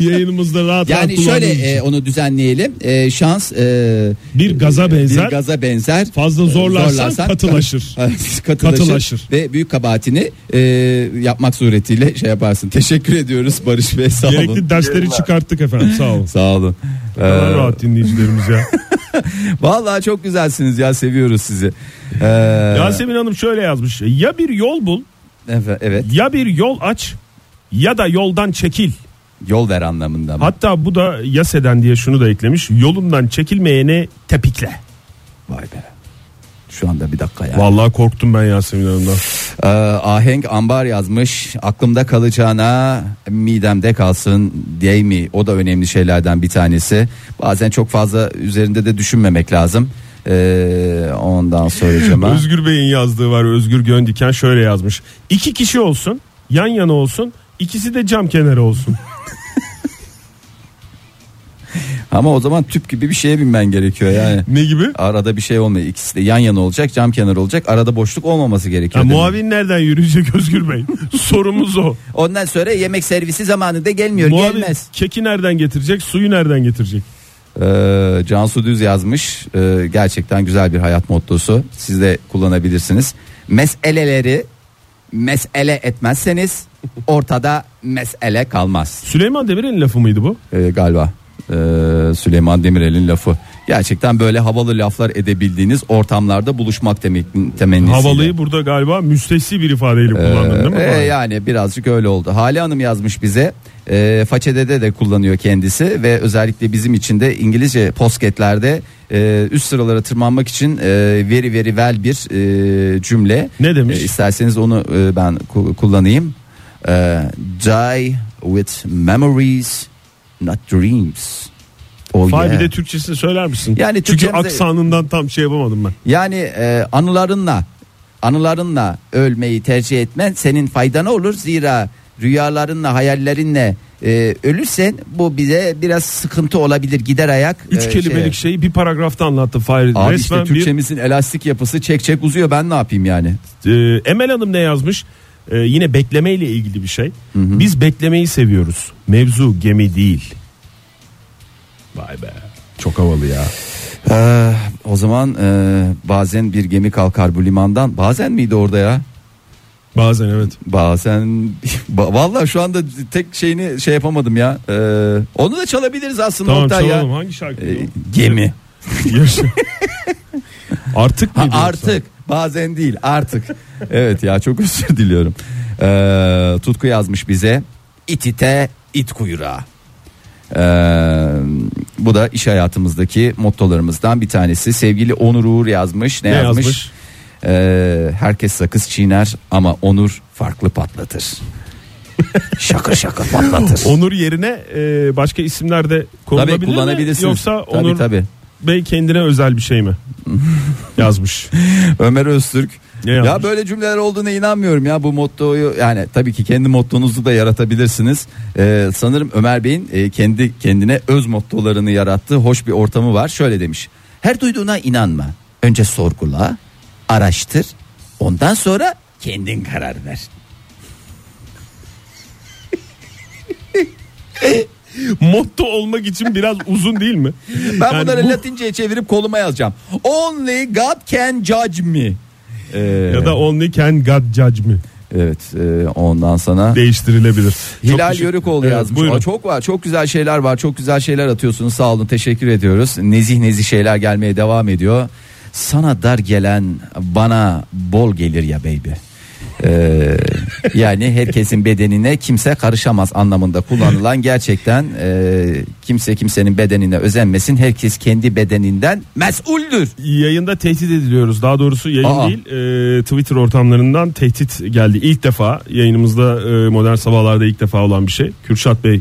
Speaker 2: yayınımızda rahat rahat
Speaker 3: Yani şöyle
Speaker 2: kullandığınız için.
Speaker 3: e, onu düzenleyelim. E, şans e,
Speaker 2: şey. bir gaza benzer
Speaker 3: bir gaza benzer.
Speaker 2: fazla zorlarsan,
Speaker 3: Zorlarsan- [laughs]
Speaker 2: katılaşır.
Speaker 3: katılaşır,
Speaker 2: Katılaşır.
Speaker 3: ve büyük kabahatini e, yapmak suretiyle şey yaparsın. Teşekkür ediyoruz Barış Bey sağ olun.
Speaker 2: Gerekli dersleri
Speaker 6: Yayınlar.
Speaker 2: çıkarttık efendim sağ olun.
Speaker 3: Sağ olun. Ee,
Speaker 2: Kadar rahat dinleyicilerimiz ya.
Speaker 3: vallahi çok güzelsiniz ya seviyoruz sizi. Ee,
Speaker 2: Yasemin Hanım şöyle yazmış. Ya bir yol bul
Speaker 3: efe- evet
Speaker 2: ya bir yol aç ya da yoldan çekil.
Speaker 3: yol ver anlamında. mı?
Speaker 2: Hatta bu da yaseden diye şunu da eklemiş. Yolundan çekilmeyeni tepikle.
Speaker 3: Vay be. Şu anda bir dakika ya.
Speaker 2: Vallahi korktum ben Yasemin Hanım'dan.
Speaker 3: Ee, ahenk ambar yazmış. Aklımda kalacağına midemde kalsın değil mi? O da önemli şeylerden bir tanesi. Bazen çok fazla üzerinde de düşünmemek lazım. Ee, ondan soracağıma.
Speaker 2: Özgür Bey'in yazdığı var. Özgür Göndiken şöyle yazmış. İki kişi olsun, yan yana olsun, ikisi de cam kenarı olsun.
Speaker 3: Ama o zaman tüp gibi bir şeye binmen gerekiyor yani.
Speaker 2: ne gibi?
Speaker 3: Arada bir şey olmuyor. İkisi de yan yana olacak, cam kenarı olacak. Arada boşluk olmaması
Speaker 2: Ya
Speaker 3: gerekiyor. demek.
Speaker 2: muavin nereden yürüyecek
Speaker 3: [laughs]
Speaker 2: Özgür Bey? Sorumuz o.
Speaker 3: Ondan sonra yemek servisi zamanında gelmiyor,
Speaker 2: muavin
Speaker 3: gelmez.
Speaker 2: keki nereden getirecek? Suyu nereden getirecek?
Speaker 3: Ee, Cansu Düz yazmış. Ee, gerçekten güzel bir hayat mottosu. Siz de kullanabilirsiniz. Meseleleri mesele etmezseniz ortada mesele kalmaz.
Speaker 2: Süleyman Demirel'in lafı mıydı bu?
Speaker 3: Ee, galiba ee, Süleyman Demirel'in lafı. Gerçekten böyle havalı laflar edebildiğiniz ortamlarda buluşmak demek temennisiyle.
Speaker 2: Havalıyı burada galiba müstesni bir ifadeyle kullandın değil mi?
Speaker 3: Ee, yani birazcık öyle oldu. Hale Hanım yazmış bize. E, façedede de kullanıyor kendisi ve özellikle bizim için de İngilizce posketlerde e, üst sıralara tırmanmak için e, veri veri vel bir e, cümle.
Speaker 2: Ne demiş?
Speaker 3: isterseniz onu e, ben ku- kullanayım. E, die with memories not dreams. Oh
Speaker 2: Fay
Speaker 3: yeah.
Speaker 2: bir de Türkçesini söyler misin?
Speaker 3: Yani
Speaker 2: Çünkü
Speaker 3: Türkçemize-
Speaker 2: aksanından tam şey yapamadım ben.
Speaker 3: Yani e, anılarınla anılarınla ölmeyi tercih etmen senin faydana olur zira rüyalarınla hayallerinle e, ölürsen bu bize biraz sıkıntı olabilir gider ayak.
Speaker 2: Üç
Speaker 3: e,
Speaker 2: kelimelik
Speaker 3: şeye.
Speaker 2: şeyi bir paragrafta anlattı Fahir.
Speaker 3: Abi
Speaker 2: Resmen
Speaker 3: işte Türkçemizin elastik yapısı çek çek uzuyor ben ne yapayım yani.
Speaker 2: bir e, Emel Hanım ne yazmış? E, yine beklemeyle ilgili bir şey. Biz beklemeyi seviyoruz. Mevzu gemi değil. Vay be. Çok havalı ya.
Speaker 3: Ee, o zaman e, bazen bir gemi kalkar bu limandan bazen miydi orada ya?
Speaker 2: Bazen evet.
Speaker 3: Bazen [laughs] Ba- vallahi şu anda tek şeyini şey yapamadım ya. Ee, onu da çalabiliriz aslında
Speaker 2: Tamam
Speaker 3: Oktay ya.
Speaker 2: çalalım. Hangi şarkı? [laughs]
Speaker 3: Ee, gemi. [laughs]
Speaker 2: Yaşa. artık
Speaker 3: Ha,
Speaker 2: mıydı yoksa?
Speaker 3: artık bazen değil artık. [laughs] evet ya çok özür diliyorum. Ee, Tutku yazmış bize it ite it kuyruğa. Ee, bu da iş hayatımızdaki mottolarımızdan bir tanesi. Sevgili Onur Uğur yazmış. Ne,
Speaker 2: Ne
Speaker 3: yazmış?
Speaker 2: yazmış?
Speaker 3: Ee, herkes sakız çiğner ama Onur farklı
Speaker 2: [laughs]
Speaker 3: patlatır. şakır şakır patlatır.
Speaker 2: Onur yerine e, başka isimler de kullanabilir
Speaker 3: Tabii
Speaker 2: mi?
Speaker 3: kullanabilirsiniz.
Speaker 2: Yoksa
Speaker 3: Tabii,
Speaker 2: Onur
Speaker 3: tabii.
Speaker 2: Bey kendine özel
Speaker 3: [laughs]
Speaker 2: bir şey mi? Yazmış.
Speaker 3: Ömer Öztürk.
Speaker 2: Ne
Speaker 3: ya
Speaker 2: yazmış?
Speaker 3: böyle cümleler olduğuna inanmıyorum ya bu mottoyu yani tabii ki kendi mottonuzu da yaratabilirsiniz. Ee, sanırım Ömer Bey'in e, kendi kendine öz mottolarını yarattığı hoş bir ortamı var. Şöyle demiş. Her duyduğuna inanma. Önce sorgula, araştır. Ondan sonra kendin karar ver.
Speaker 2: Motto olmak için biraz uzun değil [laughs] mi?
Speaker 3: Ben
Speaker 2: Yani
Speaker 3: bunları
Speaker 2: bu-
Speaker 3: Latinceye çevirip koluma yazacağım. Only God can judge me. Ee,
Speaker 2: Ya da only can God judge me
Speaker 3: evet e, ondan sana
Speaker 2: değiştirilebilir. Çok
Speaker 3: Hilal
Speaker 2: teşekkür-
Speaker 3: Yörükoğlu
Speaker 2: Evet,
Speaker 3: yazmış.
Speaker 2: buyurun.
Speaker 3: Aa, çok var. Çok güzel şeyler var. Çok güzel şeyler atıyorsunuz. Sağ olun. Teşekkür ediyoruz. Nezih nezih şeyler gelmeye devam ediyor. Sana dar gelen bana bol gelir ya baby. Ee, yani herkesin bedenine kimse karışamaz anlamında kullanılan gerçekten e, kimse kimsenin bedenine özenmesin. Herkes kendi bedeninden mesuldür.
Speaker 2: Yayında tehdit ediliyoruz. Daha doğrusu yayın
Speaker 3: Aa.
Speaker 2: değil e, Twitter ortamlarından tehdit geldi. İlk defa yayınımızda e, modern sabahlarda ilk defa olan bir şey. Kürşat Bey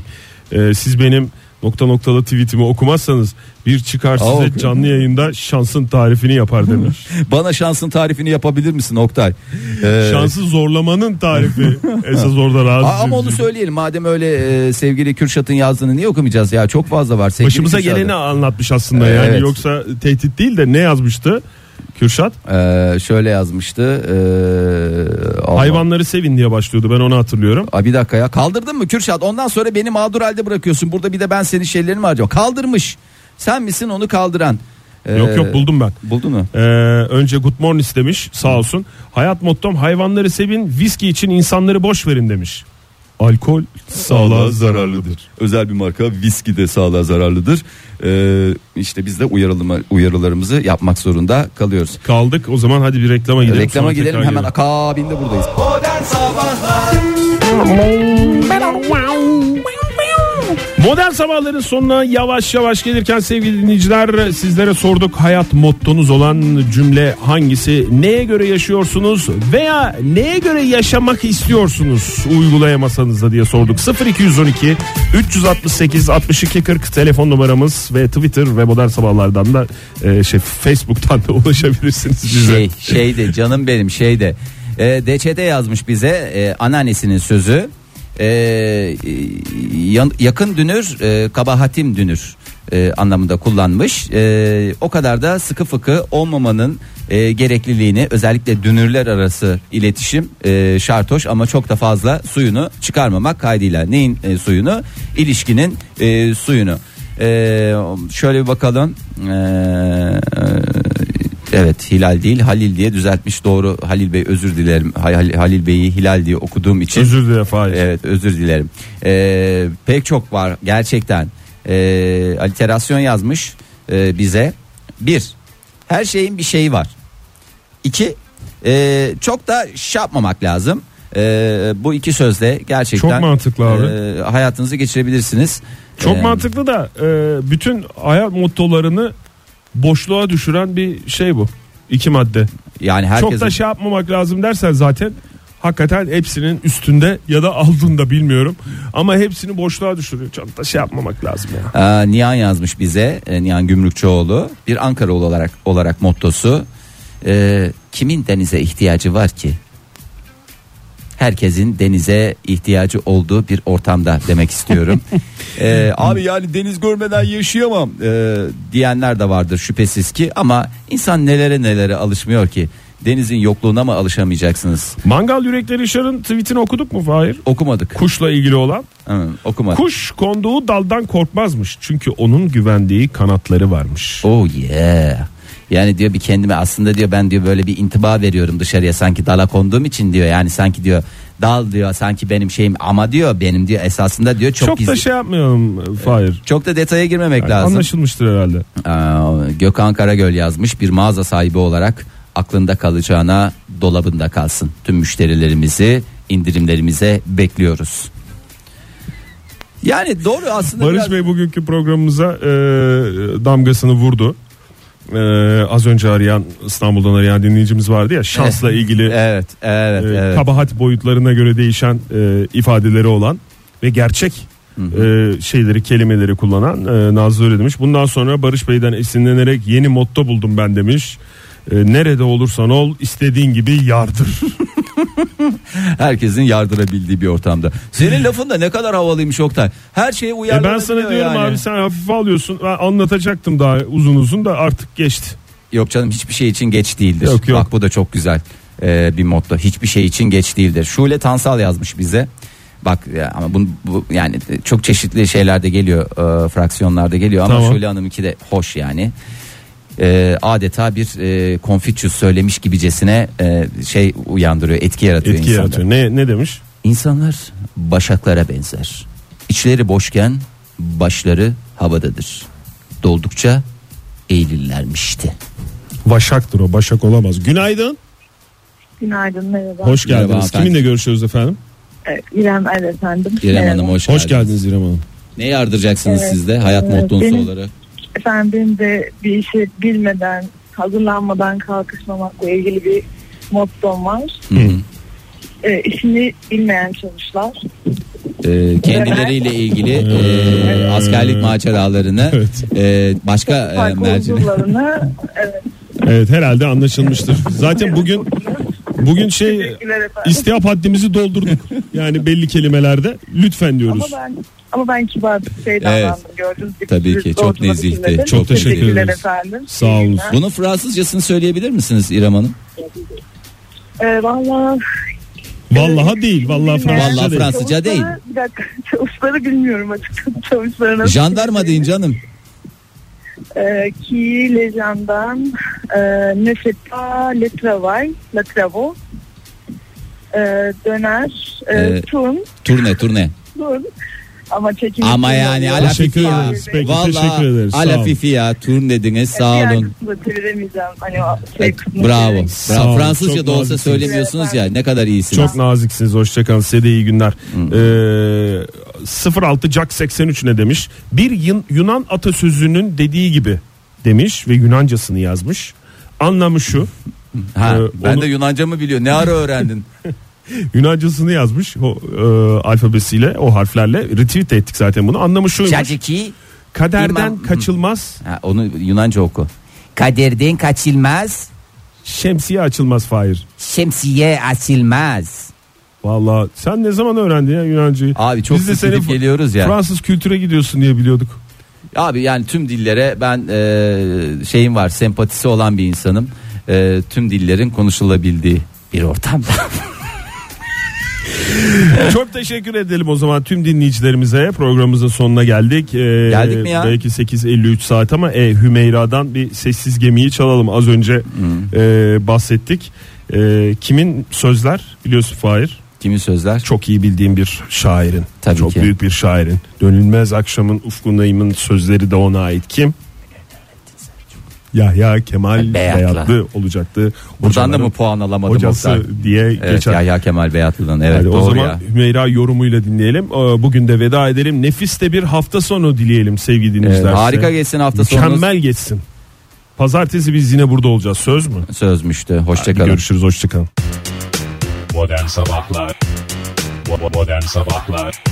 Speaker 2: e, siz benim nokta noktalı tweetimi okumazsanız bir çıkar size
Speaker 3: Aa, okuyorum.
Speaker 2: canlı yayında şansın tarifini yapar
Speaker 3: [laughs]
Speaker 2: demiş.
Speaker 3: Bana şansın tarifini yapabilir misin Oktay? Ee,
Speaker 2: Şansı
Speaker 3: [laughs]
Speaker 2: zorlamanın tarifi esas orada rahatsız
Speaker 3: Aa, ama onu
Speaker 2: edici.
Speaker 3: söyleyelim madem öyle e, sevgili Kürşat'ın yazdığını niye okumayacağız ya çok fazla var. Sevgili
Speaker 2: Başımıza
Speaker 3: Kürşat'ın-
Speaker 2: geleni anlatmış aslında yani
Speaker 3: Evet.
Speaker 2: yoksa tehdit değil de ne yazmıştı Kürşat?
Speaker 3: Ee, şöyle yazmıştı. ee, Allah.
Speaker 2: Hayvanları sevin diye başlıyordu ben onu hatırlıyorum.
Speaker 3: Aa, bir dakika ya kaldırdın mı Kürşat ondan sonra beni mağdur halde bırakıyorsun burada bir de ben senin şeylerini mi harcayacağım kaldırmış sen misin onu kaldıran Ee,
Speaker 2: Yok yok buldum ben.
Speaker 3: buldu mu
Speaker 2: Ee, önce Good Morning demiş sağ olsun. Hayat mottom hayvanları sevin, viski için insanları boş verin demiş. Alkol sağlığa zararlıdır.
Speaker 3: özel bir marka viski de sağlığa zararlıdır ee, işte biz de uyarılma, uyarılarımızı yapmak zorunda kalıyoruz
Speaker 2: Kaldık o zaman hadi bir reklama gidelim.
Speaker 3: reklama
Speaker 2: sonra
Speaker 3: gidelim
Speaker 2: tekrar
Speaker 3: hemen
Speaker 2: gelelim.
Speaker 3: akabinde buradayız
Speaker 1: Modern Sabahlar
Speaker 2: Modern sabahların sonuna yavaş yavaş gelirken sevgili dinleyiciler sizlere sorduk hayat mottonuz olan cümle hangisi? Neye göre yaşıyorsunuz veya neye göre yaşamak istiyorsunuz uygulayamasanız da diye sorduk. 0212 368 62 40 telefon numaramız ve Twitter ve modern sabahlardan da e, şey Facebook'tan da [laughs] ulaşabilirsiniz bize.
Speaker 3: Şey, şeyde canım benim şeyde. E, DÇ'de yazmış bize e, anneannesinin sözü. E, e, yan- yakın dünür e, kabahatim dünür e, anlamında kullanmış. E, o kadar da sıkı fıkı olmamanın e, gerekliliğini özellikle dünürler arası iletişim e, şartoş ama çok da fazla suyunu çıkarmamak kaydıyla. Neyin e, suyunu? İlişkinin e, suyunu. E, şöyle bir bakalım. E, Evet Hilal değil Halil diye düzeltmiş doğru Halil Bey özür dilerim Hay- Hal- Halil Bey'i Hilal diye okuduğum için
Speaker 2: Özür dilerim Fahir.
Speaker 3: Evet özür dilerim Ee, pek çok var gerçekten ee, aliterasyon yazmış ee, bize bir her şeyin bir şeyi var iki ee, çok da şey yapmamak lazım Ee, bu iki sözle gerçekten
Speaker 2: Çok mantıklı abi.
Speaker 3: ee, hayatınızı geçirebilirsiniz
Speaker 2: Çok
Speaker 3: Ee,
Speaker 2: mantıklı da e, bütün hayat mottolarını boşluğa düşüren bir şey bu. İki madde.
Speaker 3: yani herkesin...
Speaker 2: Çok da şey yapmamak lazım dersen zaten hakikaten hepsinin üstünde ya da altında bilmiyorum. Ama hepsini boşluğa düşürüyor. Çok da şey yapmamak lazım ya.
Speaker 3: Ee, Nihan yazmış bize e, Nihan Gümrükçoğlu bir Ankaralı olarak olarak mottosu e, kimin denize ihtiyacı var ki herkesin denize ihtiyacı olduğu bir ortamda demek [laughs] istiyorum. Ee, abi yani deniz görmeden yaşayamam e, diyenler de vardır şüphesiz ki ama insan nelere nelere alışmıyor ki denizin yokluğuna mı alışamayacaksınız
Speaker 2: Mangal Yürekleri Yaşar'ın tweetini okuduk mu Fahir?
Speaker 3: okumadık
Speaker 2: Kuşla ilgili olan.
Speaker 3: Hı, okumadık
Speaker 2: Kuş konduğu daldan korkmazmış. Çünkü onun güvendiği kanatları varmış.
Speaker 3: Oh yeah. Yani diyor bir kendime aslında diyor ben diyor böyle bir intiba veriyorum dışarıya sanki dala konduğum için diyor. Yani sanki diyor dal diyor sanki benim şeyim ama diyor benim diyor esasında diyor çok,
Speaker 2: Çok, da
Speaker 3: gizli-
Speaker 2: şey yapmayalım e, Fahir.
Speaker 3: Çok da detaya girmemek
Speaker 2: Yani
Speaker 3: lazım.
Speaker 2: anlaşılmıştır herhalde.
Speaker 3: Ee, Gökhan Karagöl yazmış bir mağaza sahibi olarak aklında kalacağına dolabında kalsın. Tüm müşterilerimizi indirimlerimize bekliyoruz. Yani doğru aslında
Speaker 2: Barış
Speaker 3: biraz-
Speaker 2: Bey bugünkü programımıza e, damgasını vurdu. E, az önce arayan İstanbul'dan arayan dinleyicimiz vardı ya şansla ilgili
Speaker 3: Evet, evet,
Speaker 2: e,
Speaker 3: evet.
Speaker 2: kabahat boyutlarına göre değişen e, ifadeleri olan ve gerçek e, şeyleri kelimeleri kullanan e, Nazlı öyle demiş. Bundan sonra Barış Bey'den esinlenerek yeni motto buldum ben demiş. E, nerede olursan ol istediğin gibi yardır. E,
Speaker 3: Herkesin yardırabildiği bir ortamda.
Speaker 2: [laughs]
Speaker 3: Senin lafın da ne kadar havalıymış Oktay. Her şeye
Speaker 2: E,
Speaker 3: uyarlanabiliyor
Speaker 2: ben sana diyorum
Speaker 3: yani.
Speaker 2: abi sen hafife alıyorsun. Ben anlatacaktım daha uzun uzun da artık geçti.
Speaker 3: Yok canım hiçbir şey için geç değildir.
Speaker 2: Yok, yok.
Speaker 3: Bak bu da çok güzel e, bir motto. Hiçbir şey için geç değildir. Şule Tansal yazmış bize. Bak ya, ama bunu bu, yani e, çok çeşitli şeylerde geliyor e, fraksiyonlarda geliyor ama
Speaker 2: Tamam.
Speaker 3: Şule Hanım iki de hoş yani. E, adeta bir e, Confucius söylemiş gibicesine e, şey uyandırıyor etki yaratıyor
Speaker 2: Etki
Speaker 3: insanda.
Speaker 2: yaratıyor. Ne, ne demiş?
Speaker 3: İnsanlar başaklara benzer. İçleri boşken başları havadadır. Doldukça eğilirlermişti.
Speaker 2: Başak'tır o. Başak olamaz. Günaydın.
Speaker 5: Günaydın merhaba.
Speaker 2: Hoş
Speaker 3: Merhaba
Speaker 2: geldiniz.
Speaker 3: hanımefendi.
Speaker 2: Kiminle görüşüyoruz efendim?
Speaker 5: Evet, İrem Er efendim.
Speaker 3: İrem
Speaker 5: Merhaba.
Speaker 3: Hanım hoş, geldiniz.
Speaker 2: Hoş geldiniz İrem Hanım.
Speaker 3: Ne yardıracaksınız
Speaker 5: Evet,
Speaker 3: siz de hayat
Speaker 5: evet,
Speaker 3: mottonuzu
Speaker 5: benim-
Speaker 3: olarak?
Speaker 5: Efendim benim de bir işi bilmeden, hazırlanmadan kalkışmamakla ilgili bir mottom var. Ee,
Speaker 3: Hı hı.
Speaker 5: E, işini bilmeyen çalışlar.
Speaker 3: e, kendileriyle ilgili e, askerlik maceralarını
Speaker 2: Evet.
Speaker 3: e, başka e,
Speaker 5: Farklı
Speaker 3: mercine [laughs]
Speaker 5: olduğularını evet,
Speaker 2: Evet herhalde anlaşılmıştır. Zaten bugün bugün şey
Speaker 5: teşekkürler efendim.
Speaker 2: istihap haddimizi doldurduk. Yani belli kelimelerde lütfen
Speaker 5: Ama
Speaker 2: diyoruz.
Speaker 5: ben ama ben kibar bir şey davrandım gördüğünüz gibi.
Speaker 3: Tabii
Speaker 5: siz
Speaker 3: ki, çok
Speaker 5: doğrusuna
Speaker 3: nezihti.
Speaker 5: düşünmediniz.
Speaker 2: Çok teşekkür
Speaker 5: Teşekkürler
Speaker 2: ederiz.
Speaker 5: efendim.
Speaker 2: Sağ olun.
Speaker 3: bunun Fransızcasını söyleyebilir misiniz İrem Hanım?
Speaker 5: Ee, vallahi
Speaker 2: Vallaha değil. Vallahi
Speaker 5: bilmiyorum.
Speaker 2: Fransızca
Speaker 3: Vallahi
Speaker 2: değil.
Speaker 3: Fransız- Fransızca
Speaker 5: Çavuşları-
Speaker 3: değil.
Speaker 5: Bir dakika [laughs] çavuşları bilmiyorum açıkçası [laughs] çavuşları nasıl.
Speaker 3: Jandarma deyin canım.
Speaker 5: Ee, ki lejandan e, ne fait pas le travail, le travaux. Ee, döner, e,
Speaker 3: Ee,
Speaker 5: turn,
Speaker 3: Turne turne.
Speaker 5: dur. Ama çekim.
Speaker 3: Ama yani ala
Speaker 2: Teşekkür
Speaker 3: fifi ya.
Speaker 2: ederiz. Peki, teşekkür
Speaker 3: Valla
Speaker 2: ederiz. Sağ
Speaker 3: ala
Speaker 2: olun.
Speaker 3: fifi ya. Turne dediniz sağ olun.
Speaker 5: Hani o şey
Speaker 3: Evet,
Speaker 5: kısmını
Speaker 3: bravo.
Speaker 5: çevirmiş.
Speaker 2: Sağ
Speaker 3: bravo.
Speaker 2: olun.
Speaker 3: Fransızca
Speaker 2: Çok
Speaker 3: da olsa
Speaker 2: naziksiniz.
Speaker 3: söylemiyorsunuz ya ne kadar iyisiniz.
Speaker 2: Çok naziksiniz. Hoşçakalın. Size de iyi günler.
Speaker 3: Hmm.
Speaker 2: Ee, 06 Jack 83 ne demiş? Bir Yun- Yunan atasözünün dediği gibi demiş ve Yunancasını yazmış. Anlamı şu.
Speaker 3: ha,
Speaker 2: Ee,
Speaker 3: ben
Speaker 2: onu-
Speaker 3: de Yunanca mı biliyor? Ne ara
Speaker 2: [laughs]
Speaker 3: öğrendin?
Speaker 2: Yunancasını yazmış o, e, alfabesiyle o harflerle retweet de ettik zaten bunu anlamı şuymuş
Speaker 3: Caciki.
Speaker 2: kaderden
Speaker 3: İmam-
Speaker 2: kaçılmaz
Speaker 3: Ha, onu Yunanca oku. Kaderden kaçılmaz,
Speaker 2: şemsiye açılmaz Fahir
Speaker 3: şemsiye açılmaz.
Speaker 2: Valla sen ne zaman öğrendin ya Yunancayı
Speaker 3: Abi çok sık
Speaker 2: seni
Speaker 3: gidip
Speaker 2: Fr-
Speaker 3: geliyoruz ya.
Speaker 2: Fransız kültüre gidiyorsun
Speaker 3: [laughs]
Speaker 2: diye biliyorduk
Speaker 3: Abi yani tüm dillere ben e, şeyim var, sempatisi olan bir insanım. E, tüm dillerin konuşulabildiği bir [laughs] ortamda.
Speaker 2: Çok teşekkür edelim o zaman tüm dinleyicilerimize. Programımızın sonuna geldik. Ee,
Speaker 3: Geldik mi ya?
Speaker 2: Belki 8.53 saat ama e, Hümeyra'dan bir sessiz gemiyi çalalım. Az önce e, bahsettik. E, kimin sözler biliyorsun Fahir?
Speaker 3: Kimin sözler?
Speaker 2: Çok iyi bildiğim bir şairin.
Speaker 3: Tabii
Speaker 2: Çok
Speaker 3: ki.
Speaker 2: büyük bir şairin. Dönülmez akşamın ufkundayımın sözleri de ona ait. Kim? Yahya Kemal
Speaker 3: Beyatlı.
Speaker 2: Beyatlı olacaktı.
Speaker 3: Buradan da
Speaker 2: Hocaların
Speaker 3: mı puan alamadım
Speaker 2: hocası
Speaker 3: Oktay?
Speaker 2: diye
Speaker 3: Evet,
Speaker 2: geçer.
Speaker 3: Yahya Kemal Beyatlı'dan evet
Speaker 2: Hadi
Speaker 3: doğru
Speaker 2: o zaman
Speaker 3: ya.
Speaker 2: Hümeyra yorumuyla dinleyelim. Ee, Bugün de veda edelim. Nefis de bir hafta sonu dileyelim sevgili dinleyiciler.
Speaker 3: Evet,
Speaker 2: size.
Speaker 3: harika geçsin hafta
Speaker 2: Mükemmel
Speaker 3: sonunuz.
Speaker 2: geçsin. Pazartesi biz yine burada olacağız. Söz mü?
Speaker 3: Sözmüştü.
Speaker 2: Hadi
Speaker 3: Hoşçakalın.
Speaker 2: görüşürüz. Hoşçakalın.
Speaker 7: Modern Sabahlar Bo- bo- Modern Sabahlar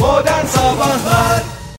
Speaker 1: Modern Sabahlar